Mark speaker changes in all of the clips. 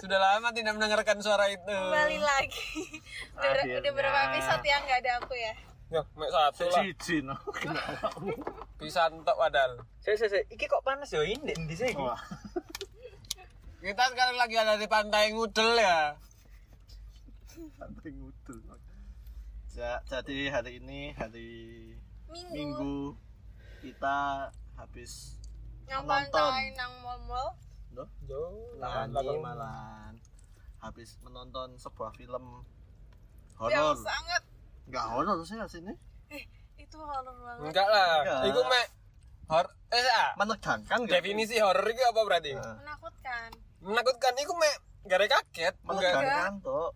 Speaker 1: sangat tidak mendengarkan suara itu.
Speaker 2: kembali lagi udah, ber-
Speaker 3: Akhirnya.
Speaker 2: udah berapa episode yang nggak ada aku ya
Speaker 1: Ya, mek satu lah.
Speaker 3: Cici no. Kenapa?
Speaker 1: Bisa entok padahal.
Speaker 4: Saya saya saya. Iki kok panas ya ini di sini.
Speaker 3: Wah.
Speaker 1: Kita sekarang lagi ada di pantai Ngudel ya.
Speaker 3: Santai ngudul. Ja- jadi hari ini hari
Speaker 2: minggu,
Speaker 3: Minggu kita habis
Speaker 2: yang
Speaker 3: nonton.
Speaker 2: pantai nang mall-mall
Speaker 3: Loh?
Speaker 1: Jauh.
Speaker 3: Lahani malahan habis menonton sebuah film
Speaker 2: yang
Speaker 3: horor.
Speaker 2: sangat
Speaker 3: Enggak horor sih sini.
Speaker 2: itu horor banget
Speaker 1: Enggak lah.
Speaker 3: Enggak.
Speaker 1: Iku mek hor eh ah.
Speaker 3: Menegangkan nggak?
Speaker 1: Definisi horor itu apa berarti?
Speaker 3: Nah,
Speaker 2: menakutkan
Speaker 1: Menakutkan iku mek gara kaget. Enggak.
Speaker 3: menegangkan tuh.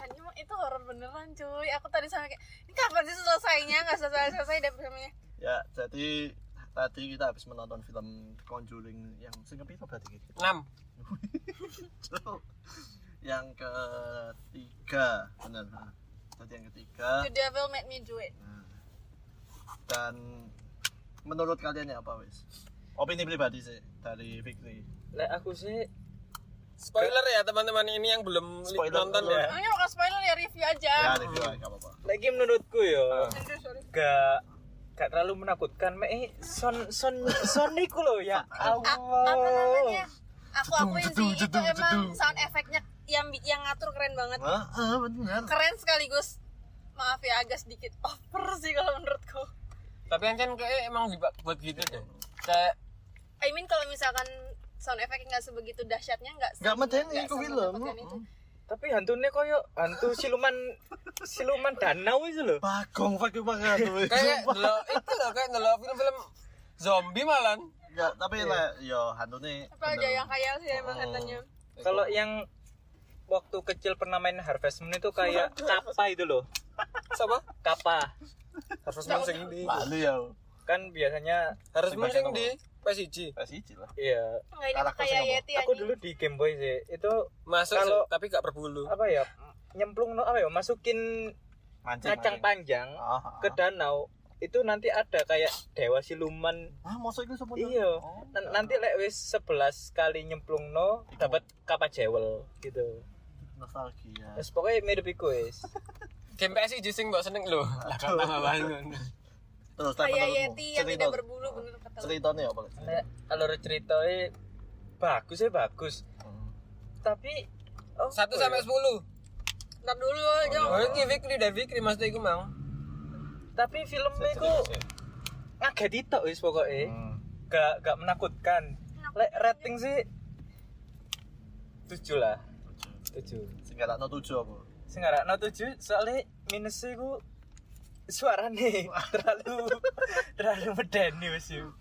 Speaker 2: Tadi emang itu horor beneran cuy aku tadi sama kayak ini kapan sih selesainya nggak selesai selesai dan filmnya
Speaker 3: Ya, jadi tadi kita habis menonton film Conjuring yang singapura berarti gitu.
Speaker 1: 6.
Speaker 3: yang ketiga, benar. nah. Jadi yang ketiga
Speaker 2: The Devil Made Me Do It
Speaker 3: nah. dan menurut kalian ya apa wis? Opini pribadi sih dari Fikri.
Speaker 4: Lah aku sih
Speaker 1: Spoiler ya teman-teman ini yang belum li-
Speaker 3: Spoiler
Speaker 1: nonton
Speaker 3: dulu
Speaker 1: ya.
Speaker 2: ini bukan spoiler ya review
Speaker 3: Ya,
Speaker 2: aja
Speaker 3: review aja nggak apa-apa.
Speaker 4: lagi menurutku ya
Speaker 2: Sorry, sorry.
Speaker 4: gak gak terlalu menakutkan. Mek eh, son son son iku loh ya
Speaker 2: A- apa namanya
Speaker 4: Allah.
Speaker 2: aku akuin sih
Speaker 3: Jedung,
Speaker 2: itu
Speaker 3: jedung, jedung.
Speaker 2: emang sound efeknya yang bi- yang ngatur keren banget
Speaker 3: Ah, ah, benar.
Speaker 2: keren sekaligus maaf ya agak sedikit over sih kalau menurutku
Speaker 1: Tapi Ancen kayak emang dibuat gitu deh. Kayak
Speaker 2: I mean kalau misalkan sound effect-nya nggak sebegitu dahsyatnya nggak
Speaker 3: Nggak medeni
Speaker 2: nggak
Speaker 3: itu film. Hmm.
Speaker 2: semenakutkan itu.
Speaker 4: Tapi hantunya koyo hantu siluman siluman danau itu loh.
Speaker 3: Bagong pakai banget weh.
Speaker 1: kayak
Speaker 3: Sumpah.
Speaker 1: delok itu loh kayak delok film-film zombie malan.
Speaker 3: Ya, tapi lah yo hantune.
Speaker 2: Iya. apa aja yang khayal sih emang katanya
Speaker 4: Kalau yang waktu kecil pernah main Harvest Moon itu kayak kapa itu loh.
Speaker 1: Siapa?
Speaker 4: Kapa.
Speaker 1: Harus Moon sing di.
Speaker 3: Lalu ya.
Speaker 4: Kan biasanya
Speaker 1: Harus Moon sing
Speaker 3: Bagian
Speaker 1: di PSG.
Speaker 3: Kasih lah.
Speaker 4: iya
Speaker 2: nggak Nah, ini
Speaker 3: Karakter
Speaker 2: kayak
Speaker 3: Singapura.
Speaker 2: Yeti
Speaker 4: aku
Speaker 2: anjing.
Speaker 4: dulu di Game Boy sih itu
Speaker 1: Masuk sih,
Speaker 4: Kalau-
Speaker 1: tapi gak berbulu.
Speaker 4: apa ya nyemplung no apa ya masukin
Speaker 3: Mancing. mancing.
Speaker 4: kacang panjang
Speaker 3: Ah, ah.
Speaker 4: ke danau itu nanti ada kayak dewa siluman
Speaker 3: Ah, mosok iku semono.
Speaker 4: iya
Speaker 3: Oh.
Speaker 4: Nan- nanti lek wis 11 kali nyemplung no
Speaker 3: Iku.
Speaker 4: dapat kapal jewel gitu
Speaker 3: nostalgia.
Speaker 4: terus pokoknya mirip iku wis
Speaker 1: Game PSG sing mbok seneng lho. Lah kan tambah bangun.
Speaker 3: Terus tapi
Speaker 2: kayak
Speaker 3: menurutmu,
Speaker 2: Yeti yang
Speaker 3: cerita-
Speaker 2: tidak berbulu bener kata lu.
Speaker 3: Ceritanya apa? Lex?
Speaker 4: Lek alur ceritanya bagus ya bagus
Speaker 3: Hmm.
Speaker 4: tapi oh,
Speaker 1: 1 sampai 10.
Speaker 2: ntar dulu jong
Speaker 1: Oh, iki Fikri dan Fikri maksudnya iku mang.
Speaker 4: tapi filmnya iku ngaget itu wis pokoknya
Speaker 3: Hmm.
Speaker 4: gak gak menakutkan. Lek rating sih tujuh lah, tujuh.
Speaker 3: Sing galakno tujuh apa?
Speaker 4: Sekarang no tujuh soalnya minusnya ku suara nih terlalu terlalu medeni wis yuk.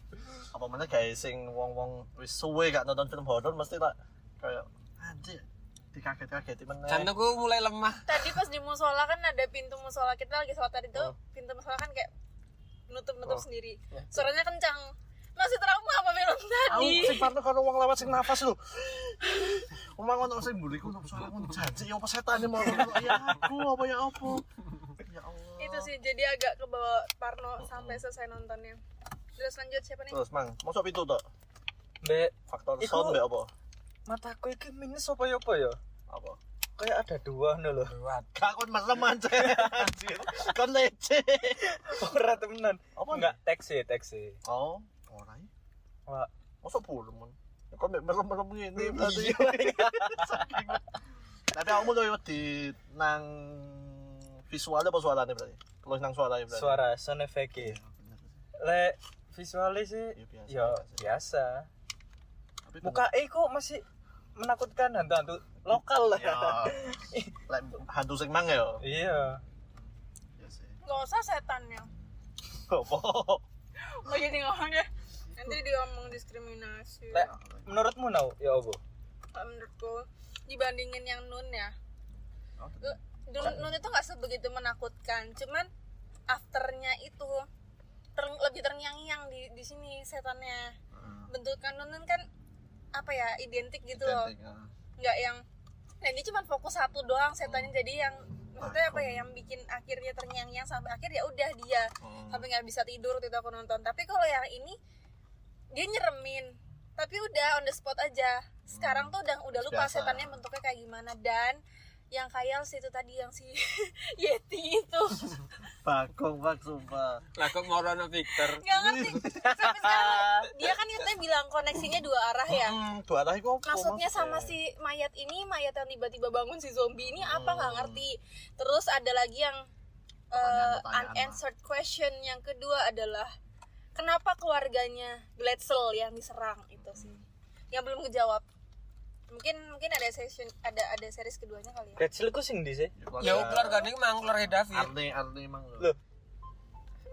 Speaker 3: Apa mana kayak sing wong-wong wis suwe gak nonton film horor mesti lah kayak anjir dikaget-kaget meneh.
Speaker 1: Jantungku mulai lemah.
Speaker 2: tadi pas di musola kan ada pintu musola kita lagi sholat tadi tuh pintu musola kan kayak nutup nutup sendiri suaranya kencang masih trauma apa film
Speaker 3: Aku
Speaker 2: tadi
Speaker 3: sing parno karo wong lewat sing nafas lho. Omong ngono sing mburi ku soalnya ngono janji ya apa setan ya mau ya aku apa ya apa. Ya Allah.
Speaker 2: itu sih jadi agak ke bawah Parno sampai selesai nontonnya terus lanjut siapa nih
Speaker 3: Terus mang, mosok pitu tok.
Speaker 4: Mbak
Speaker 3: Faktor
Speaker 4: Iku-
Speaker 3: sound mbek apa?
Speaker 4: mataku iki minus apa ya apa ya?
Speaker 3: Apa?
Speaker 4: Kayak ada dua no loh.
Speaker 1: Waduh.
Speaker 3: Gak kon merem anjir. Kon lece.
Speaker 4: Ora temenan.
Speaker 3: Apa?
Speaker 4: Enggak teksi teksi.
Speaker 3: Oh, ora ya.
Speaker 4: Wah,
Speaker 3: Masa puluh mon. Ya kon mek merem-merem ngene berarti. Saking. Tapi kamu tuh di nang visualnya apa suaranya berarti? Terus nang suaranya berarti.
Speaker 4: suara sound effect
Speaker 3: Iya,
Speaker 4: -nya.
Speaker 3: bener.
Speaker 4: Lek visualnya sih
Speaker 3: Ya, biasa,
Speaker 4: ya
Speaker 3: biasa.
Speaker 4: biasa.
Speaker 3: Tapi
Speaker 4: muka eh kok masih menakutkan hantu-hantu lokal lah
Speaker 3: ya. Lek hantu sing mang ya.
Speaker 4: iya
Speaker 3: Iya sih.
Speaker 2: nggak usah setannya
Speaker 3: Apa?
Speaker 2: mau jadi ngomong ya nanti diomong diskriminasi
Speaker 4: Lek, menurutmu nau ya obo
Speaker 2: Kalau menurutku dibandingin yang Nun ya Lu- Nun, Nun itu nggak sebegitu menakutkan cuman afternya itu ter- lebih terngiang-ngiang di di sini setannya bentukan Nun Nun kan apa ya identik gitu loh
Speaker 3: Identik, ah.
Speaker 2: nggak yang nah ini cuma fokus satu doang setannya jadi yang maksudnya apa ya yang bikin akhirnya terngiang-ngiang sampai akhir ya udah dia
Speaker 3: Hmm.
Speaker 2: sampai nggak bisa tidur waktu itu aku nonton tapi kalau yang ini dia nyeremin tapi udah on the spot aja sekarang tuh udah udah lupa
Speaker 3: Biasa.
Speaker 2: setannya bentuknya kayak gimana dan yang khayal sih itu tadi yang si Yeti itu
Speaker 3: Bagong bak sumpah.
Speaker 1: Lah kok morono Victor.
Speaker 2: nggak ngerti sampai sekarang dia kan katanya bilang koneksinya dua arah ya
Speaker 3: Hmm, dua arah iku apa
Speaker 2: maksudnya
Speaker 3: Mas?
Speaker 2: sama si mayat ini mayat yang tiba-tiba bangun si zombie ini apa
Speaker 3: Hmm.
Speaker 2: nggak ngerti terus ada lagi yang eh,
Speaker 3: Oh,
Speaker 5: Pertanyaan-pertanyaan lah.
Speaker 2: unanswered question yang kedua adalah kenapa keluarganya Glatzel yang diserang itu sih yang belum kejawab mungkin mungkin ada session ada ada series keduanya kali ya
Speaker 4: Kecil ku sing di sih.
Speaker 1: Ya keluarga ini mang keluarga David.
Speaker 3: Arne Arne emang
Speaker 4: Loh,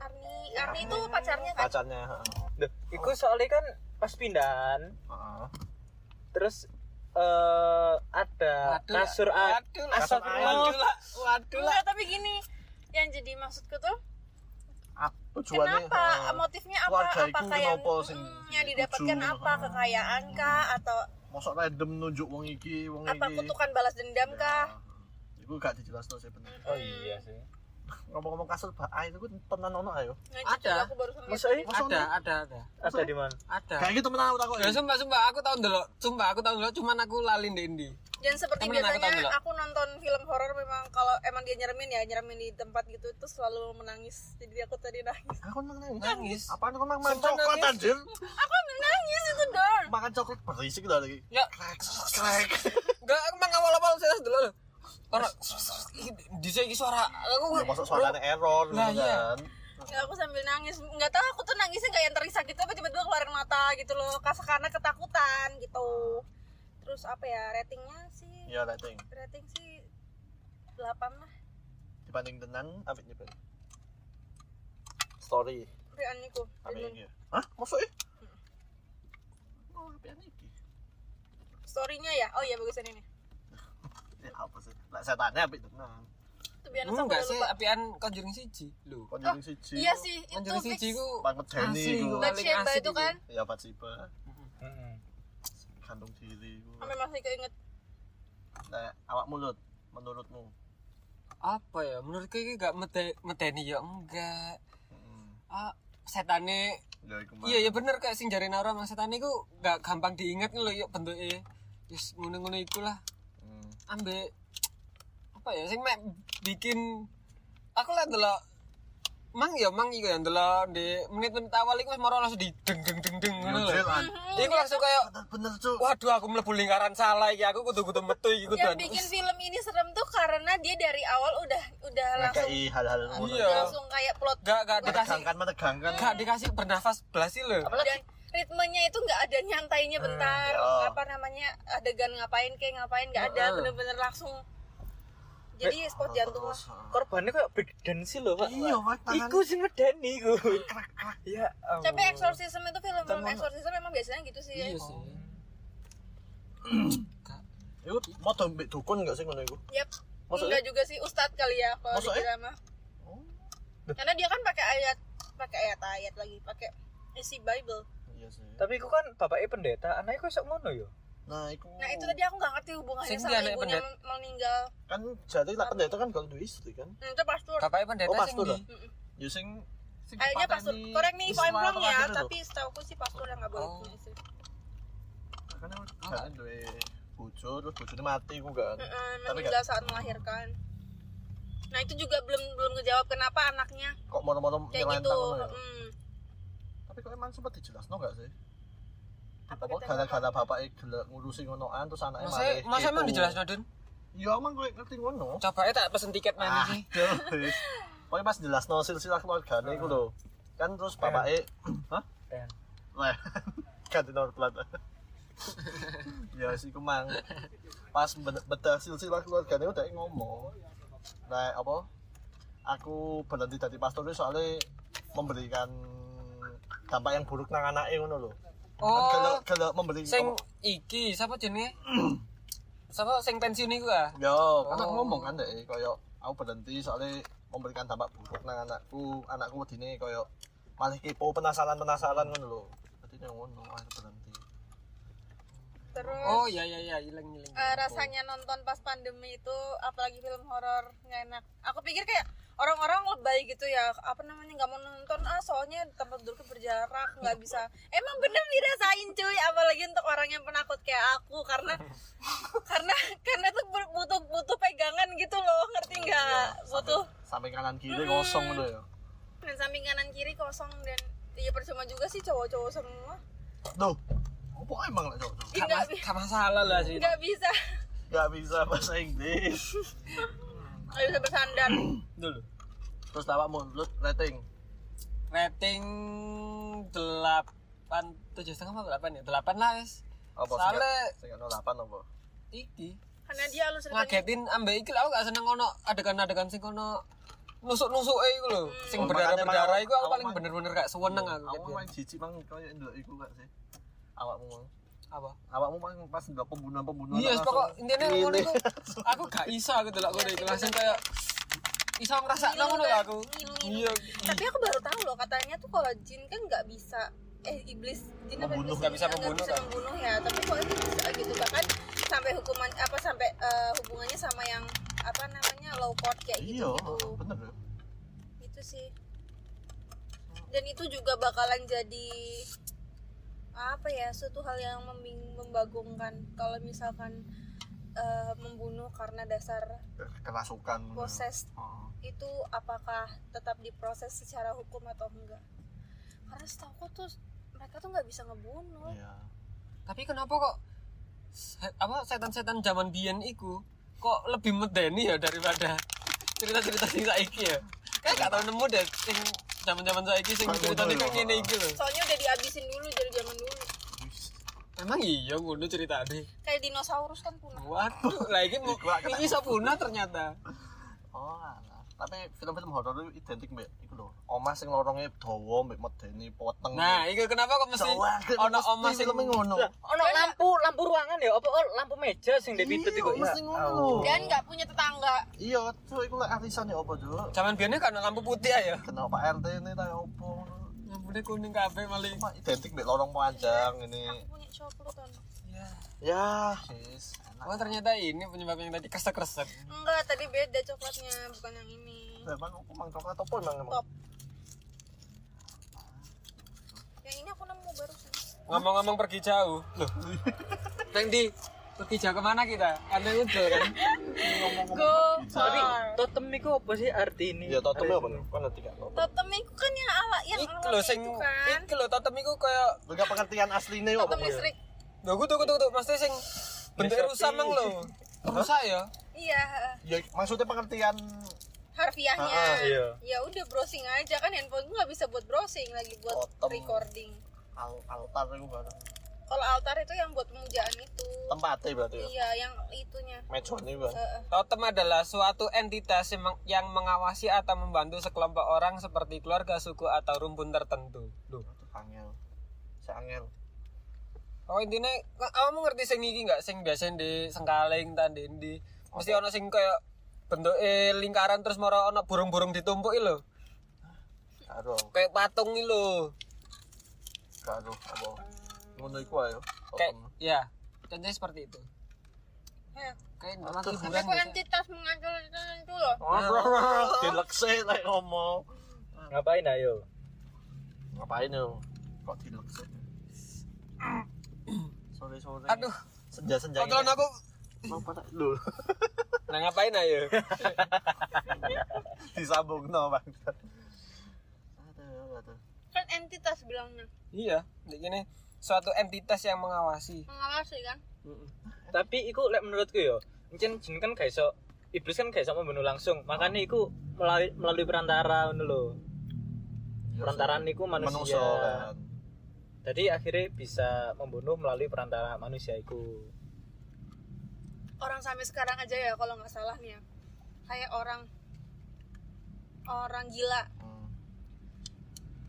Speaker 2: Arni
Speaker 3: Ya,
Speaker 2: Arni itu pacarnya kan
Speaker 3: pacarnya. ha.
Speaker 4: Duh, iku
Speaker 3: Oh.
Speaker 4: soalnya kan pas pindahan
Speaker 3: Ha.
Speaker 4: terus eh ada
Speaker 1: Waduh,
Speaker 4: kasur a-
Speaker 1: waduh, lah.
Speaker 4: asap
Speaker 1: Waduh lah, waduh lah.
Speaker 2: Enggak, tapi gini yang jadi maksudku tuh
Speaker 3: Ah, tujuannya
Speaker 2: Kenapa?
Speaker 3: ha.
Speaker 2: Motifnya apa?
Speaker 3: eh, Keluarga iku
Speaker 2: Apa yang,
Speaker 3: kenapa sing gitu. Hmm.
Speaker 2: Mm, yang didapatkan
Speaker 3: dituju?
Speaker 2: apa? Kekayaan kah? Atau
Speaker 3: Mosok random nunjuk wong iki, wong
Speaker 2: apa
Speaker 3: iki.
Speaker 2: kutukan balas dendam kah?
Speaker 3: Ya, Iku gak dijelasno sih bener.
Speaker 4: Oh iya sih.
Speaker 3: Ngomong-ngomong kasur bak ah, itu ku tenan ono ayo.
Speaker 2: Ngajak
Speaker 1: Ada.
Speaker 2: juga aku baru ngeliat.
Speaker 4: Masa
Speaker 3: Masa
Speaker 1: Ada,
Speaker 3: ono?
Speaker 1: ada, ada.
Speaker 4: ada di mana?
Speaker 1: Ada.
Speaker 3: Kayak gitu tenan aku
Speaker 1: Ya
Speaker 3: ya.
Speaker 1: sumpah sumpah aku tahu dulu. Sumpah aku tahu dulu cuman aku lalin di Indi.
Speaker 2: Dan seperti
Speaker 1: Temen aku
Speaker 2: biasanya
Speaker 1: tahu
Speaker 2: aku,
Speaker 1: nggak?
Speaker 2: nonton film horor memang kalau emang dia nyeremin ya nyeremin di tempat gitu tuh selalu menangis. Jadi aku tadi nangis.
Speaker 3: Aku nang nangis.
Speaker 1: Nangis.
Speaker 3: Apaan aku nang makan
Speaker 1: Sumpah
Speaker 3: coklat
Speaker 1: nangis.
Speaker 3: anjir?
Speaker 2: Aku menangis itu dor.
Speaker 3: Makan coklat berisik dah lagi.
Speaker 1: Ya,
Speaker 3: Krek, krek.
Speaker 1: enggak aku mang awal-awal serius dulu loh. Orang di sini suara aku
Speaker 3: Ya, Mosok suaranya error gitu
Speaker 1: Lah, iya.
Speaker 3: kan.
Speaker 2: Nggak, Ya, aku sambil nangis. Nggak tahu aku tuh nangisnya kayak yang terisak gitu tapi tiba-tiba keluarin mata gitu loh. Kas- Karena ketakutan gitu. Terus apa ya ratingnya sih?
Speaker 3: Ya rating.
Speaker 2: Rating sih 8 lah
Speaker 3: Dibanding tenan apa ini? Ben? Story.
Speaker 2: Rian niku.
Speaker 3: Apa ini? Hah? Mosok eh?
Speaker 1: Hmm.
Speaker 3: Oh, apa ini?
Speaker 2: Story-nya ya. Oh iya bagusan ini.
Speaker 3: Ya apa sih? Lah setannya apa tenan?
Speaker 2: Tuh biar
Speaker 1: Lu enggak
Speaker 2: aku
Speaker 1: sih
Speaker 2: lupa.
Speaker 1: apian Conjuring siji lu.
Speaker 3: Konjuring siji.
Speaker 2: Iya sih, itu
Speaker 1: Conjuring
Speaker 2: fix.
Speaker 1: siji ku
Speaker 3: Banget Deni
Speaker 1: Asli,
Speaker 3: iku.
Speaker 1: gua.
Speaker 2: Bathsheba
Speaker 1: Asik
Speaker 2: itu
Speaker 1: itu.
Speaker 2: kan
Speaker 3: Ya Patsiba.
Speaker 4: Heeh.
Speaker 3: Kandung diri iku.
Speaker 2: sampai masih keinget
Speaker 3: Nah, awak mulut menurutmu.
Speaker 1: apa ya menurutku ini enggak mete meteni ya enggak.
Speaker 3: Heeh.
Speaker 1: Ah, setane
Speaker 3: Hmm. Ya iku mah.
Speaker 1: iya ya bener kayak sing jare Naura mas setane ku enggak gampang diingat lho yuk bentuke. Wis ngono-ngono ikulah.
Speaker 3: Hmm.
Speaker 1: ambek apa ya sing mek bikin aku lah delok mang ya mang iku ya delok di menit-menit awal iku wis moro langsung di deng deng deng deng ngono lho.
Speaker 3: Yudil an.
Speaker 2: Mm-hmm.
Speaker 1: Iku langsung kayak
Speaker 3: Bener cuk.
Speaker 1: waduh aku mlebu lingkaran salah iki aku kudu-kudu metu iki kudu anu.
Speaker 2: yang bikin film ini serem tuh karena dia dari awal udah udah langsung
Speaker 3: Kayak hal-hal ngono.
Speaker 1: Iya.
Speaker 2: langsung kayak plot
Speaker 1: gak gak dikasih
Speaker 3: Menegangkan menegangkan.
Speaker 1: gak dikasih bernafas belasi lho.
Speaker 2: dan ritmenya itu nggak ada nyantainya bentar
Speaker 3: ya.
Speaker 2: apa namanya adegan ngapain kayak ngapain nggak ada
Speaker 3: Hmm.
Speaker 1: Heeh.
Speaker 2: bener-bener langsung jadi spot jantung lah
Speaker 3: Eh, Terus, ah.
Speaker 4: Korbannya kayak break dance sih loh, Pak.
Speaker 3: Iya, Pak, tangan.
Speaker 4: Iku sing medeni iku. Ya. ampun.
Speaker 2: tapi exorcism itu film-film exorcism memang biasanya gitu sih
Speaker 1: Iya sih.
Speaker 3: Iku mau tombek dukun enggak sih ngono iku?
Speaker 2: Yap.
Speaker 3: Maksudnya?
Speaker 2: Enggak juga sih Ustadz kali ya kalau
Speaker 3: Maksudnya?
Speaker 2: dikira mah.
Speaker 3: Oh.
Speaker 2: Karena dia kan pakai ayat pakai ayat-ayat lagi, pakai isi Bible.
Speaker 3: Iya sih.
Speaker 4: Tapi iku kan bapaknya pendeta, anaknya kok iso ngono ya?
Speaker 3: Nah, iku.
Speaker 2: Nah, itu tadi aku nggak ngerti hubungannya
Speaker 1: Oh. Sing
Speaker 2: sama
Speaker 1: dia anak
Speaker 2: ibunya
Speaker 1: pendet-
Speaker 2: meninggal.
Speaker 3: kan jadi lah pendeta kan kalau duwe istri kan.
Speaker 2: Nah, itu pastor.
Speaker 1: Bapaknya pendeta
Speaker 3: Oh,
Speaker 1: sing
Speaker 3: pastor
Speaker 1: di
Speaker 3: ya?
Speaker 2: Mm-mm.
Speaker 3: Ya sing sing
Speaker 2: Kayaknya
Speaker 3: pateni
Speaker 2: pastor. Korek nih if I'm
Speaker 3: Ismail
Speaker 2: wrong ya,
Speaker 3: terakhir itu.
Speaker 2: tapi setahu sih pastor yang nggak boleh
Speaker 1: Oh.
Speaker 2: punya istri.
Speaker 3: kan aku gak duwe eh, bojo terus bojone mati iku kan.
Speaker 2: Mm-mm,
Speaker 3: Tapi
Speaker 2: meninggal saat melahirkan. Nah, itu juga belum belum kejawab kenapa anaknya
Speaker 3: Kok moro-moro
Speaker 2: kayak gitu.
Speaker 3: nyelentang ngono ya.
Speaker 2: Mm.
Speaker 3: Tapi kok emang sempat dijelasno gak sih?
Speaker 2: Apa
Speaker 3: Apa
Speaker 2: kita
Speaker 3: gara-gara bapaknya gelek ngurusi ngonoan terus anaknya
Speaker 1: Masa
Speaker 3: malah
Speaker 1: masa eh, emang
Speaker 3: kepo.
Speaker 1: dijelasno Dun?
Speaker 3: Ya emang gue ngerti ngono.
Speaker 1: Coba aja tak pesen tiket mana sih?
Speaker 3: Aduh, wis. Pokoknya pas jelas no silsilah keluargane iku lho. Kan terus bapaknya hah?
Speaker 4: Dan
Speaker 3: Lah, ganti nomor plat. ya sih kumang. Pas ben- bedah silsilah keluargane udah ngomong. Nah, apa? Aku berhenti dari pastor itu soalnya memberikan dampak yang buruk nang anaknya ngono lho. Kan kalau
Speaker 1: Oh,
Speaker 3: kalau memberi
Speaker 1: sing
Speaker 3: apa?
Speaker 1: iki siapa jenenge? Siapa sing pensiun iku ah?
Speaker 3: Ya, kan aku ngomong kan deh, koyo aku berhenti soalnya memberikan dampak buruk nang anakku, anakku wedine koyo malah kepo penasaran-penasaran ngono lho. Dadi nek ngono akhirnya berhenti.
Speaker 2: Terus
Speaker 1: Oh iya iya iya hilang hilang.
Speaker 2: Eh, rasanya nonton pas pandemi itu apalagi film horor nggak enak aku pikir kayak orang-orang lebay gitu ya apa namanya nggak mau nonton ah soalnya tempat duduknya berjarak nggak bisa emang bener dirasain cuy apalagi untuk orang yang penakut kayak aku karena karena karena tuh ber- butuh butuh pegangan gitu loh ngerti
Speaker 1: Eh,
Speaker 2: nggak butuh
Speaker 3: iya, Sampai kanan kiri kosong gitu ya.
Speaker 2: dan samping kanan kiri kosong dan ya percuma juga sih cowok-cowok semua
Speaker 3: Duh. Apa emang lah cowok?
Speaker 2: Ih, nggak bi-
Speaker 1: Gak masalah lah sih.
Speaker 2: nggak bisa
Speaker 3: Gak bisa bahasa Inggris.
Speaker 2: nggak bisa bersandar
Speaker 1: Dulu.
Speaker 3: Terus tawa mulut rating.
Speaker 1: Rating delapan tujuh setengah apa delapan ya? Delapan lah wes.
Speaker 3: Apa
Speaker 1: Soalnya
Speaker 3: sih? Sing 08 apa?
Speaker 1: iki
Speaker 2: karena dia alus ceritanya
Speaker 1: ngagetin ambek iki lho, aku gak seneng ono adegan-adegan sing ono nusuk-nusuk iku lho. Sing
Speaker 3: Oh,
Speaker 1: berdarah-berdarah
Speaker 3: makanya
Speaker 1: iku aku
Speaker 3: aku-
Speaker 1: paling
Speaker 3: aku-
Speaker 1: bener-bener gak seneng aku.
Speaker 3: Awakmu
Speaker 1: kejadian.
Speaker 3: main jijik mang kayak ndelok iku gak sih? Awakmu mang.
Speaker 1: Apa?
Speaker 3: Awakmu mang pas ndelok pembunuhan-pembunuhan.
Speaker 1: Iya, yes,
Speaker 3: langsung
Speaker 1: pokok intinya
Speaker 3: ngene.
Speaker 1: ngono iku aku gak iso aku delok ngono iku langsung kayak iso ngerasa
Speaker 2: Ngilu
Speaker 1: ngono
Speaker 2: kan?
Speaker 1: lho aku.
Speaker 2: Ngilu-ngilu.
Speaker 1: Iya.
Speaker 2: tapi aku baru tahu loh katanya tuh kalau jin kan nggak bisa eh iblis jin apa iblis
Speaker 3: Membunuh,
Speaker 1: nggak
Speaker 2: ini
Speaker 1: bisa
Speaker 2: nggak
Speaker 1: membunuh,
Speaker 2: bisa
Speaker 1: kan?
Speaker 2: membunuh ya tapi kok itu bisa gitu bahkan sampai hukuman apa sampai eh, hubungannya sama yang apa namanya low court kayak gitu
Speaker 3: Iya,
Speaker 2: gitu
Speaker 3: bener ya.
Speaker 2: itu sih dan itu juga bakalan jadi apa ya suatu hal yang membing- membagongkan kalau misalkan eh, membunuh karena dasar
Speaker 3: Kerasukan.
Speaker 2: proses
Speaker 3: Heeh.
Speaker 2: itu apakah tetap diproses secara hukum atau enggak karena setahu aku tuh mereka tuh nggak bisa ngebunuh
Speaker 3: Iya.
Speaker 1: Tapi kenapa kok se- apa setan-setan zaman biyen iku kok lebih medeni ya daripada cerita-cerita sing saiki ya. Kayak gak tau nemu deh sing zaman-zaman saiki sing
Speaker 3: Kayak
Speaker 1: ceritane
Speaker 3: ngono
Speaker 1: kayak
Speaker 3: ya.
Speaker 1: ngene iki lho.
Speaker 2: soalnya udah dihabisin dulu dari zaman dulu
Speaker 1: Emang iya ngono ceritane.
Speaker 2: kayak dinosaurus kan punah
Speaker 1: Waduh, lah iki mau
Speaker 3: Iku aku-
Speaker 1: iki iso punah ternyata.
Speaker 3: Oh, alah. Tapi film-film horor itu identik mbek iku lho. Omah sing lorongnya dawa mbek medeni poteng.
Speaker 1: Nah, iku kenapa kok mesti
Speaker 3: Jawa, kan,
Speaker 1: ono
Speaker 3: mesti
Speaker 1: omah sing
Speaker 3: filmnya ngono.
Speaker 4: ono lampu lampu ruangan ya apa oh, lampu meja sing ndek pitut
Speaker 3: Iya,
Speaker 4: iku.
Speaker 3: mesti ngono.
Speaker 2: dan nggak punya tetangga
Speaker 3: Iya, cuy, iku lek arisan ya apa, Cuk?
Speaker 1: Zaman biyen kan lampu putih ya.
Speaker 3: Kenapa Pak RT ini tak opo?
Speaker 1: Lampune kuning kabeh maling.
Speaker 3: Cuma identik mbek lorong panjang
Speaker 2: aku
Speaker 3: ini.
Speaker 2: punya coklat kan
Speaker 1: Ya.
Speaker 3: Ya, yes.
Speaker 1: Oh, ternyata ini penyebab yang tadi kresek-kresek.
Speaker 2: enggak tadi beda coklatnya bukan yang ini
Speaker 3: Emang aku mang coklat apa emang emang?
Speaker 2: top yang ini aku nemu barusan
Speaker 1: Ngomong-ngomong pergi jauh. Loh. Neng di pergi jauh kemana kita? Anda udah kan.
Speaker 2: go
Speaker 4: Tapi
Speaker 2: far
Speaker 4: totem iku apa sih arti ini?
Speaker 3: Iya, totemnya apa nih? Kan nanti gak totem.
Speaker 2: totem itu kan yang ala yang
Speaker 1: Iku
Speaker 2: ala
Speaker 1: lho sing
Speaker 2: itu kan
Speaker 1: iku lho totem iku kaya
Speaker 3: Lu gak pengertian aslinya ya apa?
Speaker 2: totem
Speaker 3: Bu, ya?
Speaker 2: listrik
Speaker 1: lho kudu kudu kudu mesti sing bentuk
Speaker 4: Mesopi.
Speaker 1: rusak mang lho. Rusak ya.
Speaker 2: iya
Speaker 3: Ya, maksudnya pengertian
Speaker 2: harfiahnya
Speaker 3: Ah,
Speaker 4: iya.
Speaker 2: ya udah browsing aja kan handphone gue nggak bisa buat browsing lagi buat
Speaker 3: Totem.
Speaker 2: recording
Speaker 3: al altar itu kan.
Speaker 2: kalau altar itu yang buat pemujaan itu
Speaker 3: Tempatnya berarti ya.
Speaker 2: iya yang itunya
Speaker 3: Mejone kan.
Speaker 2: Heeh.
Speaker 1: Totem adalah suatu entitas yang meng- yang mengawasi atau membantu sekelompok orang seperti keluarga, suku, atau rumpun tertentu. Loh.
Speaker 3: Angel. Si angel.
Speaker 1: Oh intinya, nge- kamu ngerti sing iki nggak? Sing biasanya di sengkaling, tanda di mesti ono sing kayak bentuk lingkaran terus moro ono burung-burung ditumpuk lho.
Speaker 3: Karo,
Speaker 1: Kayak patung iki lho.
Speaker 3: karo apa? Ngono iku ayo.
Speaker 1: Kayak ya, contohnya seperti itu.
Speaker 2: Heh.
Speaker 1: Kayak nama
Speaker 2: tapi
Speaker 1: hiburan
Speaker 2: kok
Speaker 1: biasa.
Speaker 2: entitas mengacul itu loh
Speaker 3: Dilekse lek ngomong.
Speaker 4: Ngapain ayo?
Speaker 3: Ngapain yo? Kok dilekse? Sore-sore.
Speaker 1: Aduh,
Speaker 3: senja-senja.
Speaker 1: kontrol aku.
Speaker 3: Mau patah lho.
Speaker 1: Nah ngapain ayo?
Speaker 3: Disambung no, Bang. Aduh, aduh.
Speaker 2: kan entitas bilangnya
Speaker 1: iya, kayak gini suatu entitas yang mengawasi.
Speaker 2: mengawasi kan
Speaker 4: Tapi iku lek menurutku yo, encen jin kan gak iso iblis kan gak iso membunuh langsung. Makanya iku melalui, melalui perantara ngono lho. Perantaraan iku manusia.
Speaker 3: Menungso kan.
Speaker 4: Jadi akhirnya bisa membunuh melalui perantara manusia iku.
Speaker 2: orang sampai sekarang aja ya kalau nggak salah nih ya kayak orang orang gila
Speaker 3: Hmm.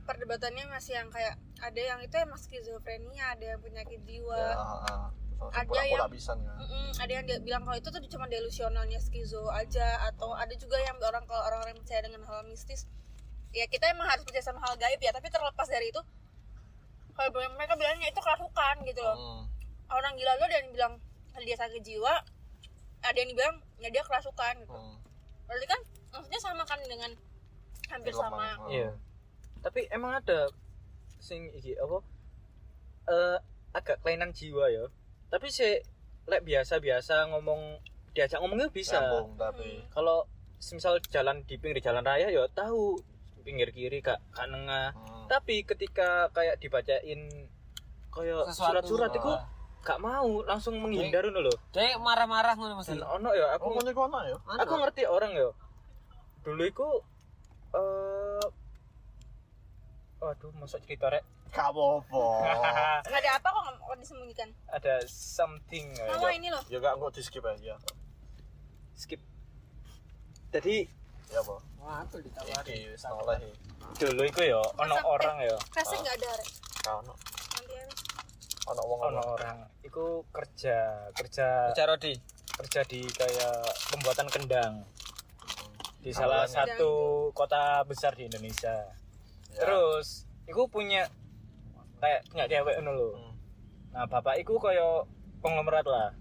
Speaker 2: perdebatannya masih yang kayak ada yang itu emang skizofrenia ada yang penyakit jiwa
Speaker 3: Ya, ah, ah. Terus
Speaker 2: Ada
Speaker 3: pura-pura
Speaker 2: yang-
Speaker 3: pisan kan.
Speaker 2: Mm-mm, ada yang dia bilang kalau itu tuh cuma delusionalnya skizo aja atau ada juga yang orang kalau orang-orang yang percaya dengan hal mistis ya kita emang harus percaya sama hal gaib ya tapi terlepas dari itu kalau bilang- mereka bilangnya itu kerasukan gitu loh
Speaker 3: Hmm.
Speaker 2: orang gila lo dan bilang dia sakit jiwa ada yang dibilang ya dia kerasukan gitu
Speaker 3: Hmm.
Speaker 2: berarti kan maksudnya sama kan dengan hampir sama
Speaker 4: Iya. Tapi emang ada sing iki apa eh agak kelainan jiwa ya. Tapi si lek biasa-biasa ngomong diajak ngomongnya bisa.
Speaker 3: Sambung tapi.
Speaker 2: Hmm.
Speaker 4: Kalau semisal jalan di pinggir jalan raya ya tahu pinggir kiri kak kak nengah.
Speaker 3: Hmm.
Speaker 4: Tapi ketika kayak dibacain kayak
Speaker 1: Sesuatu.
Speaker 4: surat-surat itu
Speaker 3: Ah.
Speaker 4: gak mau langsung menghindar ngono lho.
Speaker 1: Dia marah-marah ngono mesti.
Speaker 4: Dan ono ya
Speaker 3: Aku
Speaker 4: aku
Speaker 3: punya kono ya.
Speaker 1: Anu,
Speaker 4: aku ngerti orang ya dulu iku eh aduh masuk cerita rek
Speaker 3: Gak apa-apa.
Speaker 2: nggak ada apa kok nggak nggak disembunyikan
Speaker 4: ada something ya,
Speaker 2: mama
Speaker 4: Dok.
Speaker 2: ini loh
Speaker 3: Ya gak aku di skip aja.
Speaker 4: skip jadi
Speaker 3: Ya apa?
Speaker 1: Wah, aku ditawari.
Speaker 3: Iki wis noleh. iki.
Speaker 4: dulu iku ya ono
Speaker 2: Masa-
Speaker 4: orang ya
Speaker 2: kelasnya nggak ada Rek.
Speaker 3: Gak ono.
Speaker 2: nanti aja.
Speaker 3: Ono wong
Speaker 4: ono orang iku kerja kerja
Speaker 1: Bicara Rodi.
Speaker 4: kerja di kayak pembuatan kendang di
Speaker 3: Kendang.
Speaker 4: salah satu kota besar di Indonesia
Speaker 3: Ya.
Speaker 4: terus iku punya kayak punya cewek ngono lho.
Speaker 3: Hmm.
Speaker 4: Nah, bapak iku kaya konglomerat lah.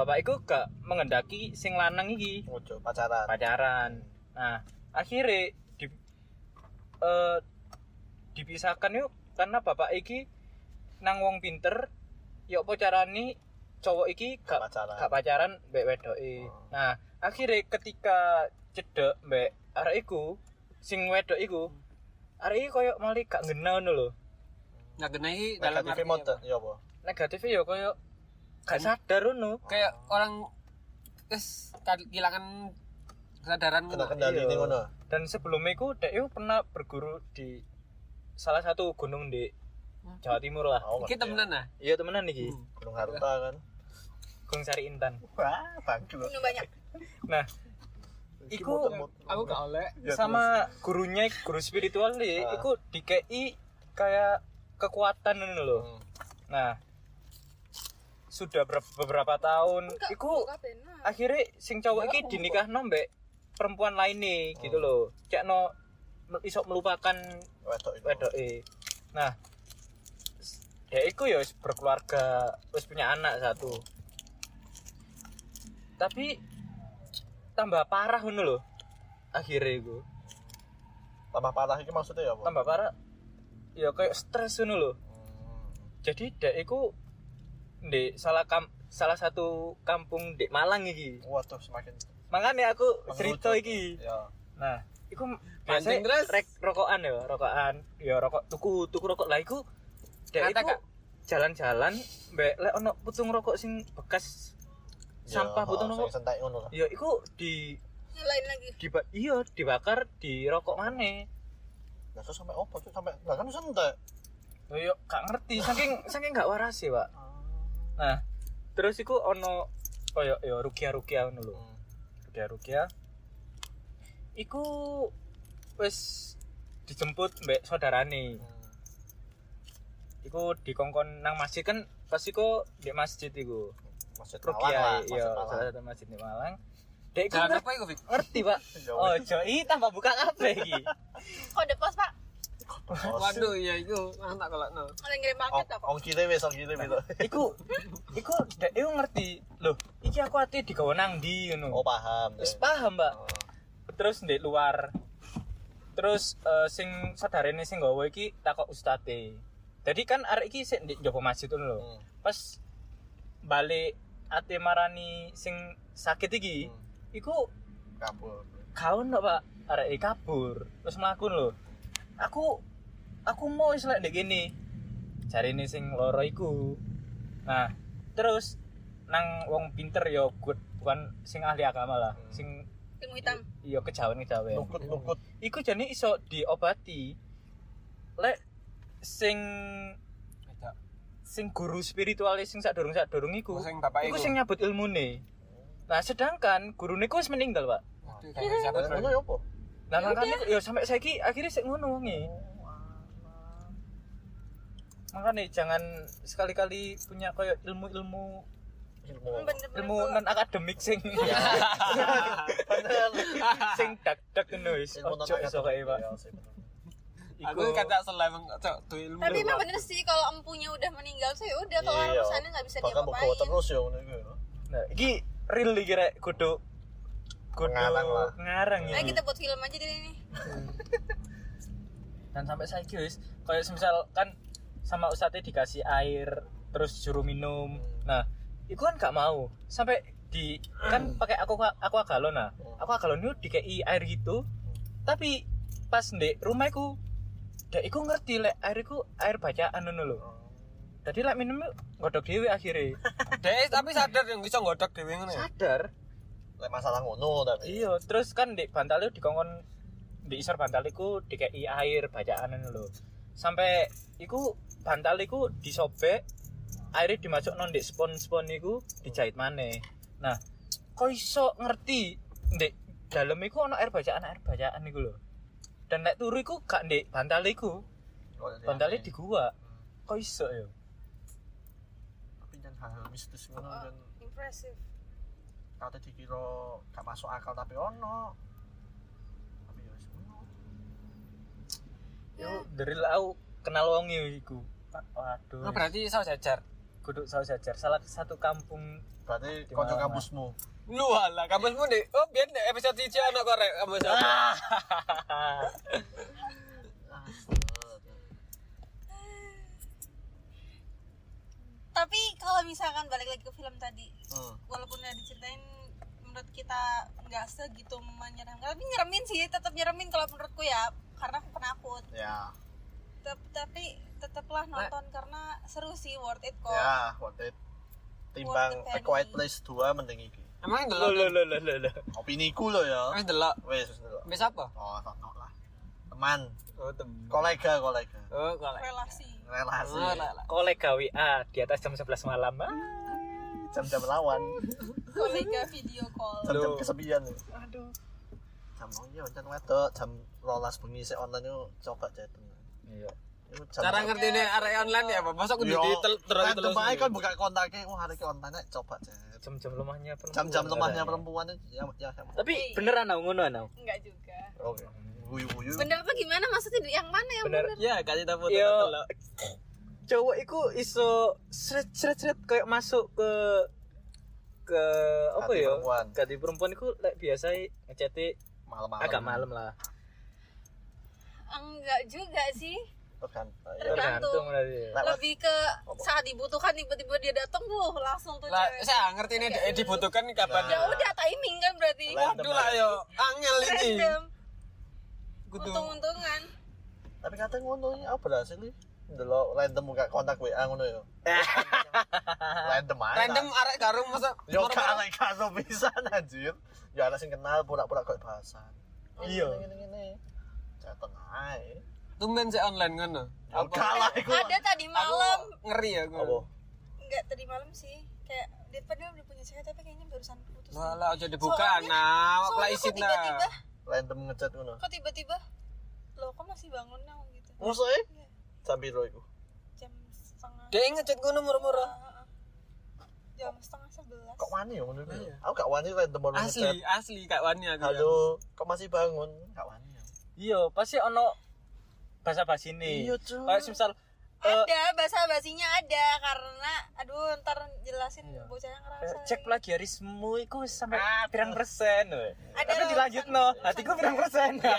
Speaker 4: Bapak iku gak mengendaki sing lanang iki
Speaker 3: Ngojo pacaran.
Speaker 4: pacaran. Nah, akhirnya di eh, dipisahkan yuk karena bapak iki nang wong pinter yuk apa carane cowok iki gak
Speaker 3: Pacaran.
Speaker 4: gak pacaran mbek wedoke.
Speaker 3: Oh.
Speaker 4: Nah, akhirnya ketika cedek mbek arek iku sing wedok iku arek iki koyo malah gak ngena ngono lho.
Speaker 1: Nggak kena iki dalam
Speaker 3: Negatif
Speaker 1: artinya
Speaker 3: mode
Speaker 1: apa?
Speaker 3: ya apa?
Speaker 4: Negatifnya ya koyo gak sadar ngono.
Speaker 1: Kayak orang wis kehilangan kesadaran
Speaker 3: Kena
Speaker 1: ngono.
Speaker 3: kendali
Speaker 4: Iya.
Speaker 3: ning ngono.
Speaker 4: Dan sebelumnya iku dek iku pernah berguru di salah satu gunung di
Speaker 3: Hmm.
Speaker 4: Jawa Timur lah.
Speaker 3: Aku
Speaker 1: Iki
Speaker 3: ngerti ya.
Speaker 1: temenan ah.
Speaker 4: Iya temenan iki,
Speaker 1: Hmm.
Speaker 3: Gunung Haruta kan.
Speaker 4: Gunung Sari Intan.
Speaker 3: Wah, bangkrut.
Speaker 2: minum banyak
Speaker 4: Nah, Iku-
Speaker 1: Aku gak oleh.
Speaker 3: Ya,
Speaker 4: sama gurunya guru spiritual nih,
Speaker 3: Ah.
Speaker 4: iku dikei kayak kekuatan ngono lho.
Speaker 3: Hmm.
Speaker 4: Nah, sudah ber- beberapa tahun
Speaker 2: enggak
Speaker 4: iku
Speaker 2: enggak benar
Speaker 4: akhirnya sing cowok
Speaker 3: Ya,
Speaker 4: iki dinikah nombek perempuan lain nih gitu
Speaker 3: Hmm.
Speaker 4: loh. Cek no isok melupakan
Speaker 3: Wedok itu.
Speaker 4: wedoke. Nah, s- dia iku ya wis berkeluarga, wis punya anak satu. Tapi tambah parah ngono lho. Akhirnya iku.
Speaker 3: Tambah parah iki maksudnya ya apa?
Speaker 4: Tambah parah ya kayak stres ngono lho.
Speaker 3: Hmm.
Speaker 4: Jadi dia iku di salah kam- salah satu kampung di Malang iki.
Speaker 3: Waduh, semakin
Speaker 4: Makanya aku
Speaker 3: mengerucut.
Speaker 4: cerita iki.
Speaker 3: Ya.
Speaker 4: Nah, iku
Speaker 1: Banting
Speaker 4: biasanya
Speaker 1: terus.
Speaker 4: rek rokokan ya, rokokan. Ya rokok tuku, tuku rokok lah iku. Dek
Speaker 1: Kata,
Speaker 4: iku
Speaker 1: Kak.
Speaker 4: jalan-jalan mbek lek ono putung rokok sing bekas
Speaker 3: Ya,
Speaker 4: sampah
Speaker 3: oh,
Speaker 4: putung
Speaker 3: sing
Speaker 4: rokok.
Speaker 3: Sentai ngono lah.
Speaker 4: Ya iku di
Speaker 2: lain lagi
Speaker 4: di iya dibakar di rokok maneh.
Speaker 3: Nah, terus sampai opo tuh sampai lah kan sentai.
Speaker 4: Lho yo gak ngerti saking saking gak waras sih, Pak. Nah, terus iku ono koyo ya rukia-rukia ngono lho.
Speaker 3: Hmm.
Speaker 4: Rukia-rukia. Iku wis dijemput mbek saudarane.
Speaker 3: Hmm.
Speaker 4: iku dikongkon nang masjid kan pas iku di masjid iku
Speaker 3: Masjid Malang lah,
Speaker 4: rukia
Speaker 3: Masjid
Speaker 4: iya
Speaker 3: Malang.
Speaker 4: salah satu masjid di Malang dek iku
Speaker 1: Jangan
Speaker 4: ngerti,
Speaker 1: apa iku, Fik?
Speaker 4: ngerti pak
Speaker 3: Ya,
Speaker 4: oh joi tambah buka kabeh iki
Speaker 2: kode pos pak
Speaker 3: Oh,
Speaker 1: Waduh, ya iku. Aku tak kolakno.
Speaker 2: ada yang ngirim paket
Speaker 3: Ong-
Speaker 2: apa
Speaker 3: Ong kiri wis, gitu. ong kiri wis.
Speaker 4: iku iku dek iku ngerti loh iki aku ati digawe nang
Speaker 3: Oh
Speaker 4: ndi ngono
Speaker 3: paham.
Speaker 4: wis
Speaker 3: ya.
Speaker 4: paham pak
Speaker 3: Oh.
Speaker 4: terus di luar terus eh, sing saudarane sing gawe iki takok ustate jadi kan arek iki sik ndek jopo masjid ngono lho
Speaker 3: Hmm.
Speaker 4: pas balik ate marani sing sakit iki
Speaker 3: Hmm.
Speaker 4: iku
Speaker 3: Kabur.
Speaker 4: kau no pak arek kabur terus melakukan lho aku aku mau istilah dek gini cari ini sing loro iku nah terus nang wong pinter yo good bukan sing ahli agama lah
Speaker 3: Hmm.
Speaker 4: sing
Speaker 2: ilmu hitam
Speaker 4: yo kejawen kejawen
Speaker 3: Nukut nukut.
Speaker 4: iku jadi iso diobati lek sing
Speaker 1: Beda.
Speaker 4: sing guru spiritualis sing sak dorong sak dorong iku
Speaker 1: Sing bapak
Speaker 4: iku sing nyabut ilmu nih nah sedangkan guru niku wis meninggal pak
Speaker 1: Waduh, gak bisa
Speaker 3: Lah,
Speaker 1: betul.
Speaker 3: Ngono ya apa?
Speaker 4: Nah,
Speaker 2: Ya
Speaker 4: makanya ya sampai saiki akhirnya sik ngono wonge. Makanya jangan sekali-kali punya koyo ilmu-ilmu
Speaker 3: Ilmu.
Speaker 2: Hmm,
Speaker 3: Ya.
Speaker 2: bener-bener
Speaker 4: ilmu
Speaker 2: kok.
Speaker 4: non akademik sing sing dak-dak ngono wis.
Speaker 3: Ilmu
Speaker 4: Ojo
Speaker 3: non-akademik.
Speaker 4: iso kae, Pak.
Speaker 3: Ya, sih, bener.
Speaker 1: Aku kata selai bang, cok, tuh ilmu.
Speaker 2: tapi
Speaker 1: lho,
Speaker 2: emang
Speaker 1: Pak.
Speaker 2: bener sih kalau empunya udah meninggal sih udah kalau
Speaker 3: Iya.
Speaker 2: urusannya nggak bisa
Speaker 3: Bahkan buka
Speaker 2: diapa-apain
Speaker 3: terus ya ngono iku ya.
Speaker 4: Nah, iki real iki rek kudu Godho
Speaker 3: Pengarang lah.
Speaker 4: pengarang
Speaker 2: Ayo
Speaker 3: Hmm.
Speaker 4: ini.
Speaker 2: kita buat film aja deh ini.
Speaker 4: Dan sampai saya guys, kayak semisal kan sama ustadznya dikasih air terus suruh minum. Nah, itu kan gak mau. Sampai di kan pakai aku aku galon nah. Aku galon itu dikei air gitu. Tapi pas di rumahku, dek iku ngerti lek air iku air bacaan ngono lho.
Speaker 3: Hmm.
Speaker 4: Tadi lek minum yuk, godok dhewe akhirnya.
Speaker 1: Dek, tapi sadar yang bisa nggodok dhewe ngono ya.
Speaker 4: Sadar.
Speaker 3: Lek masalah ngono tapi.
Speaker 4: Iya, terus kan di bantal itu dikongkon di isor bantal itu dikei air bacaan ini lho. Sampai iku bantal iku disobek, airnya dimasuk non di spon-spon iku dijahit maneh. Nah, kok iso ngerti di dalam iku ono air bacaan air bacaan iku lho. Dan nek turu iku gak di bantal iku,
Speaker 3: gitu. Ya,
Speaker 4: bantalnya di gua. Kok iso ya?
Speaker 3: Hmm. tapi kan hal mistis ngono
Speaker 2: Oh.
Speaker 3: kan
Speaker 2: Impressive.
Speaker 3: kate dikira gak masuk akal tapi ono. Tapi ya wis ngono.
Speaker 4: Yo, dari aku kenal wong iku. Waduh.
Speaker 1: Oh, berarti iso jajar.
Speaker 4: Guduk saus jajar salah satu kampung
Speaker 3: Berarti
Speaker 4: Gimana?
Speaker 3: kanca kampusmu.
Speaker 1: Lu alah, kampusmu deh. Oh, biar deh episode 3 anak korek kampus aku.
Speaker 2: Tapi kalau misalkan balik lagi ke film tadi,
Speaker 3: Hmm.
Speaker 2: walaupun udah diceritain menurut kita nggak segitu menyeramkan, tapi nyeremin sih, tetap nyeremin kalau menurutku ya, karena aku penakut.
Speaker 3: Ya,
Speaker 2: Tep- tapi tetaplah nonton karena seru sih, worth it kok.
Speaker 3: ya, worth it. Timbang
Speaker 2: Worth
Speaker 3: A
Speaker 2: it,
Speaker 3: Quiet
Speaker 2: Penny.
Speaker 3: Place 2 mending iki.
Speaker 1: Emang
Speaker 4: lo lo
Speaker 1: delok.
Speaker 4: lo lo lo lo
Speaker 3: Opini ku lo ya.
Speaker 1: Wis delok.
Speaker 3: Wes wis delok.
Speaker 1: Wis apa?
Speaker 3: Oh, tonton lah. Teman,
Speaker 1: Oh, temen.
Speaker 3: kolega, kolega.
Speaker 1: Oh, korek.
Speaker 2: Relasi.
Speaker 3: Relasi.
Speaker 1: Oh, lah, lah.
Speaker 4: kolega WA di atas jam 11 malam ah.
Speaker 3: Jam-jam lawan.
Speaker 2: Kolega video call.
Speaker 3: Jam-jam
Speaker 4: Loh.
Speaker 3: kesepian.
Speaker 4: aduh
Speaker 3: Jam oh iya, jam wedok, jam rolas bengi sik online yo coba chatting.
Speaker 4: iya
Speaker 3: Yo jam
Speaker 1: Cara ngerti ini area online ya, Pak. Masa aku di terus terus
Speaker 3: terus. Kan kan buka kontaknya, wah hari ke online aja, coba chat.
Speaker 4: jam-jam lemahnya perempuan
Speaker 3: Jam-jam lemahnya
Speaker 4: katanya.
Speaker 3: perempuan itu, ya ya. ya.
Speaker 4: tapi Iya. beneran aku ngono aku
Speaker 2: Enggak juga.
Speaker 3: Oke. Wuyu-wuyu.
Speaker 2: Bener apa gimana maksudnya yang mana yang
Speaker 4: bener
Speaker 2: bener?
Speaker 3: Iya,
Speaker 1: Ya, kasih tahu foto
Speaker 4: Yo.
Speaker 1: delok.
Speaker 4: Iya. cowok iku iso seret seret seret kayak masuk ke ke apa
Speaker 3: Hati
Speaker 4: ya
Speaker 3: perempuan.
Speaker 4: ganti perempuan iku lek biasa ngechat e
Speaker 3: Malam-malam.
Speaker 4: agak malam lah
Speaker 2: Enggak juga sih.
Speaker 3: Terus kan. ya.
Speaker 2: Tergantung.
Speaker 4: berarti ya.
Speaker 3: Lewat.
Speaker 2: Lebih ke saat dibutuhkan tiba-tiba dia datang bu langsung tuh
Speaker 1: Lah,
Speaker 2: cewek.
Speaker 1: saya ngerti ini dek dibutuhkan kapan.
Speaker 2: Ya udah timing kan berarti.
Speaker 3: Lah,
Speaker 1: Waduh lah yo, angel iki.
Speaker 2: Random.
Speaker 1: Kudu.
Speaker 2: Untung-untungan.
Speaker 3: Tapi kadang ngono iki aku berhasil iki. Delok random buka kontak WA ngono yo. Random Ya, aja.
Speaker 1: Random arek garung masa
Speaker 3: Yo
Speaker 1: moro-moro.
Speaker 3: kare kaso pisan anjir. Ya ana sing kenal pura-pura kok bahasan.
Speaker 4: Iya.
Speaker 3: Ngene-ngene. Jateng ae.
Speaker 1: Tumben sih online ngono.
Speaker 3: Yo kalah iku.
Speaker 2: Ada tadi malam.
Speaker 1: Aku ngeri ya
Speaker 3: Apa?
Speaker 1: gue.
Speaker 2: Enggak tadi malam sih. Kayak dia padahal udah punya cewek tapi kayaknya barusan putus.
Speaker 1: Lah lah aja dibuka
Speaker 2: Soalnya-
Speaker 1: nah, awak lah
Speaker 2: Soalnya
Speaker 1: isi
Speaker 2: kok
Speaker 1: nah.
Speaker 2: tiba-tiba,
Speaker 3: Random ngechat ngono.
Speaker 2: kok tiba-tiba, loh kok masih bangun nang gitu.
Speaker 3: Musuh e? Sambil ro iku.
Speaker 2: Jam setengah.
Speaker 1: Dia ngechat ngono murmur.
Speaker 2: Ah, ah. Jam setengah sebelas.
Speaker 3: Kok wani yo ngono iku? ya?
Speaker 1: Iya.
Speaker 3: Aku gak wani random orang ngechat.
Speaker 1: Asli, asli Kak Wani aku. ya.
Speaker 3: Halo, kok masih bangun? Gak wani. ya.
Speaker 4: iya pasti ono bahasa basi ini
Speaker 3: Iya, cuy.
Speaker 4: kayak semisal eh,
Speaker 2: ada bahasa basinya ada karena aduh ntar jelasin
Speaker 1: Iya.
Speaker 2: bocahnya ngerasa
Speaker 4: Eh, cek plagiarismu itu sampai pirang persen weh.
Speaker 2: Ada
Speaker 4: tapi
Speaker 2: lho,
Speaker 4: dilanjut no hatiku pirang persen
Speaker 1: Iya.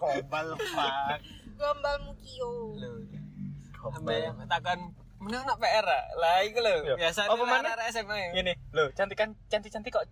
Speaker 3: Gombal pak.
Speaker 2: gombal mukio
Speaker 1: Lho.
Speaker 3: Gombal.
Speaker 1: Ambe takon menang nak PR ah?" lah iku lho
Speaker 4: Yo.
Speaker 1: biasa
Speaker 4: Apa maneh?
Speaker 1: arek SMA ya.
Speaker 4: ini lo cantik kan cantik cantik kok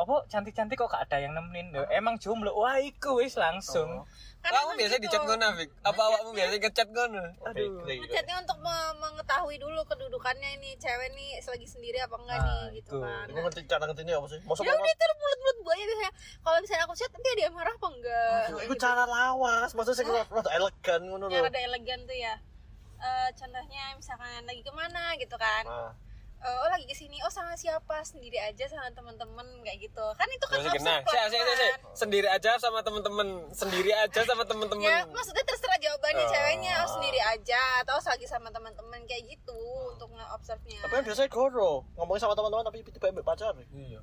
Speaker 4: apa cantik cantik kok gak ada yang nemenin lho. emang jomblo wah iku wis langsung
Speaker 2: Kan
Speaker 1: Kamu
Speaker 2: emang
Speaker 1: biasa
Speaker 2: gitu. Oh,
Speaker 1: dicat ngono, Fik? Apa awakmu biasa ngechat ngono?
Speaker 4: aduh
Speaker 2: Ngechatnya untuk me- mengetahui dulu kedudukannya ini cewek nih lagi sendiri apa enggak
Speaker 4: Nah,
Speaker 2: nih gitu
Speaker 4: itu.
Speaker 2: kan.
Speaker 3: Iku ngerti cara ngerti ini apa sih? Masa
Speaker 2: Ya udah terus mulut-mulut buaya biasanya. Kalau misalnya aku chat nanti dia marah apa enggak?
Speaker 3: Yo, Iku cara lawas, maksudnya sing rada elegan ngono
Speaker 2: Yang
Speaker 3: lho.
Speaker 2: rada elegan tuh ya. Eh, contohnya misalkan lagi kemana gitu kan
Speaker 3: Nah,
Speaker 2: Eh, oh lagi kesini oh sama siapa sendiri aja sama teman-teman kayak gitu kan itu kan
Speaker 1: Terus
Speaker 2: harus
Speaker 1: kena. Saya saya saya
Speaker 2: pelan-pelan.
Speaker 1: sendiri aja sama temen-temen, sendiri aja sama
Speaker 2: ya
Speaker 1: temen-temen.
Speaker 2: maksudnya terserah jawabannya
Speaker 1: Oh.
Speaker 2: ceweknya oh, sendiri aja atau lagi sama teman-teman kayak gitu untuk nge-observe-nya
Speaker 3: tapi kan biasanya goro, ngomongin sama teman-teman tapi tiba-tiba ambek pacar.
Speaker 1: Iya.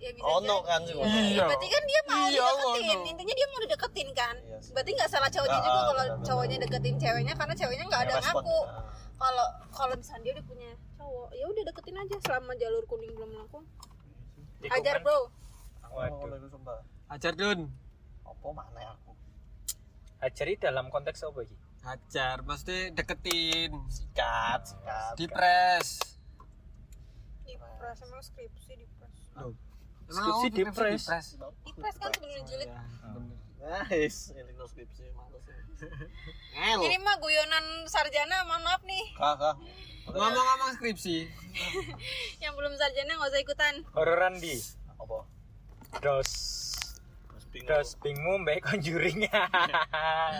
Speaker 2: ya bisa
Speaker 3: Ono
Speaker 2: jadi.
Speaker 3: kan sih,
Speaker 2: Iya.
Speaker 1: Iya.
Speaker 2: berarti kan dia mau
Speaker 1: Iya,
Speaker 2: dideketin
Speaker 1: ono.
Speaker 2: intinya dia mau dideketin kan
Speaker 3: Iya sih.
Speaker 2: berarti nggak salah cowoknya
Speaker 3: Ah,
Speaker 2: juga kalau
Speaker 3: benar-benar.
Speaker 2: cowoknya deketin ceweknya karena ceweknya nggak ada
Speaker 3: Ya, respon.
Speaker 2: ngaku
Speaker 3: Nah,
Speaker 2: kalau kalau misalnya dia udah punya cowok ya udah deketin aja selama jalur kuning belum melengkung
Speaker 4: Iku
Speaker 2: hajar
Speaker 4: kan
Speaker 2: bro
Speaker 4: Waduh.
Speaker 3: Ngono iku sumpah.
Speaker 1: Hajar Dun.
Speaker 3: Apa mana aku?
Speaker 4: Ajari dalam konteks apa iki?
Speaker 1: Hajar, mesti deketin,
Speaker 3: Sikat, sikat.
Speaker 1: di press.
Speaker 2: di press emang skripsi di press
Speaker 4: Skripsi di press.
Speaker 2: di press kan sebelum dijilid
Speaker 3: Nice, ini no skripsi males.
Speaker 2: ini mah guyonan sarjana mohon maaf nih
Speaker 3: Kakak.
Speaker 1: Ngomong-ngomong skripsi,
Speaker 2: yang belum sarjana nggak usah ikutan
Speaker 4: Hororan di
Speaker 3: Apa?
Speaker 4: dos
Speaker 3: Terus bingung.
Speaker 4: dos bingung mbak conjuring.
Speaker 3: Ah,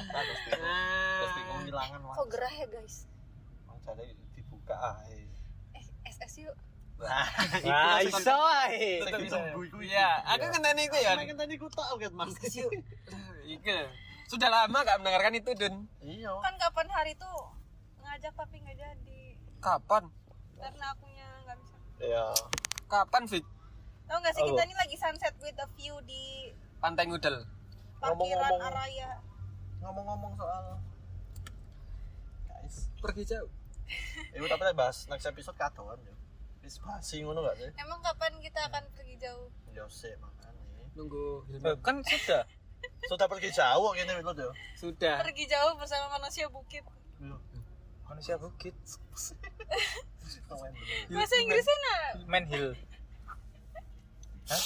Speaker 3: Terus bingung. Terus bingung hilangan Mas.
Speaker 2: kok gerah ya guys
Speaker 3: Mas, jadi dibuka ae.
Speaker 2: eh SS yuk
Speaker 3: Nah,
Speaker 4: Wah, Ah, iso ae.
Speaker 3: Tetep
Speaker 1: bisa.
Speaker 3: ditunggu iku ya.
Speaker 1: Nah, Iya, aku ngenteni iku ya.
Speaker 3: Kan tadi ku tak kan Mas.
Speaker 1: Iku. Sudah lama gak mendengarkan itu, Dun.
Speaker 3: Iya.
Speaker 2: kan kapan hari tuh ngajak tapi nggak jadi
Speaker 1: Kapan?
Speaker 2: karena akunya nggak bisa
Speaker 3: Iya.
Speaker 1: Kapan, Vic?
Speaker 2: tau nggak sih kita
Speaker 4: Apa?
Speaker 2: ini lagi sunset with a view di
Speaker 1: Pantai Ngudel.
Speaker 2: parkiran
Speaker 3: Ngomong-ngomong.
Speaker 2: Araya
Speaker 3: Ngomong-ngomong soal guys.
Speaker 1: Pergi jauh.
Speaker 3: Ibu tapi tak bahas next episode katon yo. Wis basi ngono gak sih?
Speaker 2: emang kapan kita akan pergi jauh
Speaker 3: Yo sik makane.
Speaker 1: Nunggu
Speaker 4: Loh,
Speaker 1: Hilman.
Speaker 4: kan sudah.
Speaker 3: Sudah pergi jauh ngene lho yo. Eh.
Speaker 1: Sudah.
Speaker 2: pergi jauh bersama manusia bukit
Speaker 4: Manusia bukit.
Speaker 2: bahasa Inggrisnya nah
Speaker 4: Man Hill.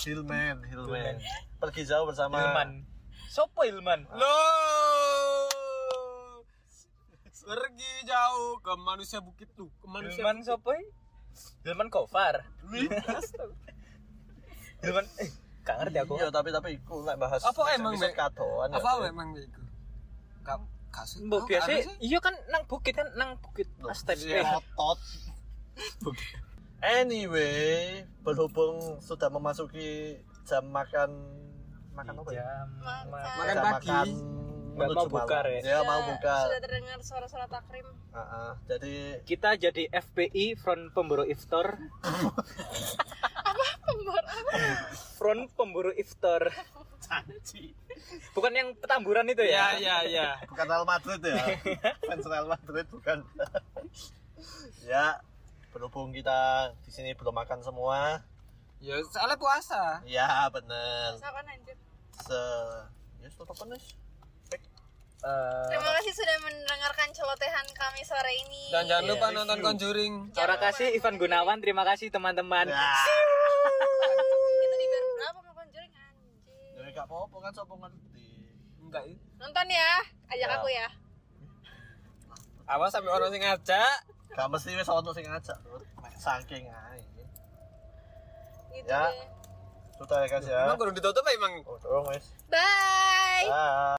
Speaker 3: Hillman, Hillman.
Speaker 4: Hillman.
Speaker 3: Pergi jauh bersama
Speaker 4: Hilman. Sopo Hilman?
Speaker 1: Lo pergi jauh ke manusia bukit lu, ke manusia
Speaker 4: Hilman sopo? i? Hilman Kofar. Hilman eh gak ngerti aku.
Speaker 3: Iya, tapi tapi iku lek bahas
Speaker 1: Apa
Speaker 3: next
Speaker 1: emang,
Speaker 3: episode
Speaker 1: Mek?
Speaker 3: katon. ya,
Speaker 1: apa
Speaker 3: sih.
Speaker 1: emang itu? Kamu kasih?
Speaker 4: Mbok biasa iya kan nang bukit kan nang bukit.
Speaker 3: Iya,
Speaker 4: Astaga.
Speaker 3: otot. Anyway, berhubung sudah memasuki jam makan makan apa ya?
Speaker 4: Jam
Speaker 2: Makan.
Speaker 1: Iya.
Speaker 4: Eh.
Speaker 1: Makan
Speaker 3: Jam
Speaker 1: pagi.
Speaker 3: makan
Speaker 4: Nggak
Speaker 3: menuju
Speaker 4: mau bukar
Speaker 3: malam.
Speaker 4: ya?
Speaker 3: Iya, mau
Speaker 2: Sudah-
Speaker 3: buka.
Speaker 2: sudah terdengar suara-suara takrim
Speaker 3: jadi
Speaker 4: kita jadi FPI Front Pemburu Iftar
Speaker 2: Pembor-
Speaker 4: Front Pemburu Iftar bukan yang petamburan itu
Speaker 1: Ya
Speaker 3: Iya,
Speaker 4: ya
Speaker 1: ya ya.
Speaker 3: bukan Real Madrid ya. Fans Real Madrid bukan. ya, berhubung kita di sini belum makan semua.
Speaker 1: Ya soalnya puasa.
Speaker 3: Ya, bener.
Speaker 2: Misalkan anjir.
Speaker 3: Se Ya, stop apa nih?
Speaker 4: Eh,
Speaker 2: Terima kasih sudah mendengarkan celotehan kami sore ini.
Speaker 1: Dan jangan
Speaker 3: Iya,
Speaker 1: lupa
Speaker 3: thank
Speaker 1: nonton
Speaker 3: you.
Speaker 1: Conjuring.
Speaker 4: terima kasih Ivan Gunawan terima kasih teman-teman
Speaker 3: Ya.
Speaker 2: Kita dibayar berapa mau Conjuring anjir.
Speaker 3: Ya, gak apa-apa kan sopo ngerti.
Speaker 1: Enggak. ya.
Speaker 2: Nonton ya, ajak
Speaker 3: Ya.
Speaker 2: aku ya.
Speaker 1: Awas sampai orang sing ngajak.
Speaker 3: Gak mesti wis ono sing ngajak, Lur. Mek Saking ae.
Speaker 2: Gitu
Speaker 3: Ya.
Speaker 2: deh.
Speaker 3: Sudah ya, guys ya.
Speaker 1: Emang kurang ditutup apa emang?
Speaker 3: Oh, tolong wis.
Speaker 2: Bye.
Speaker 3: Bye.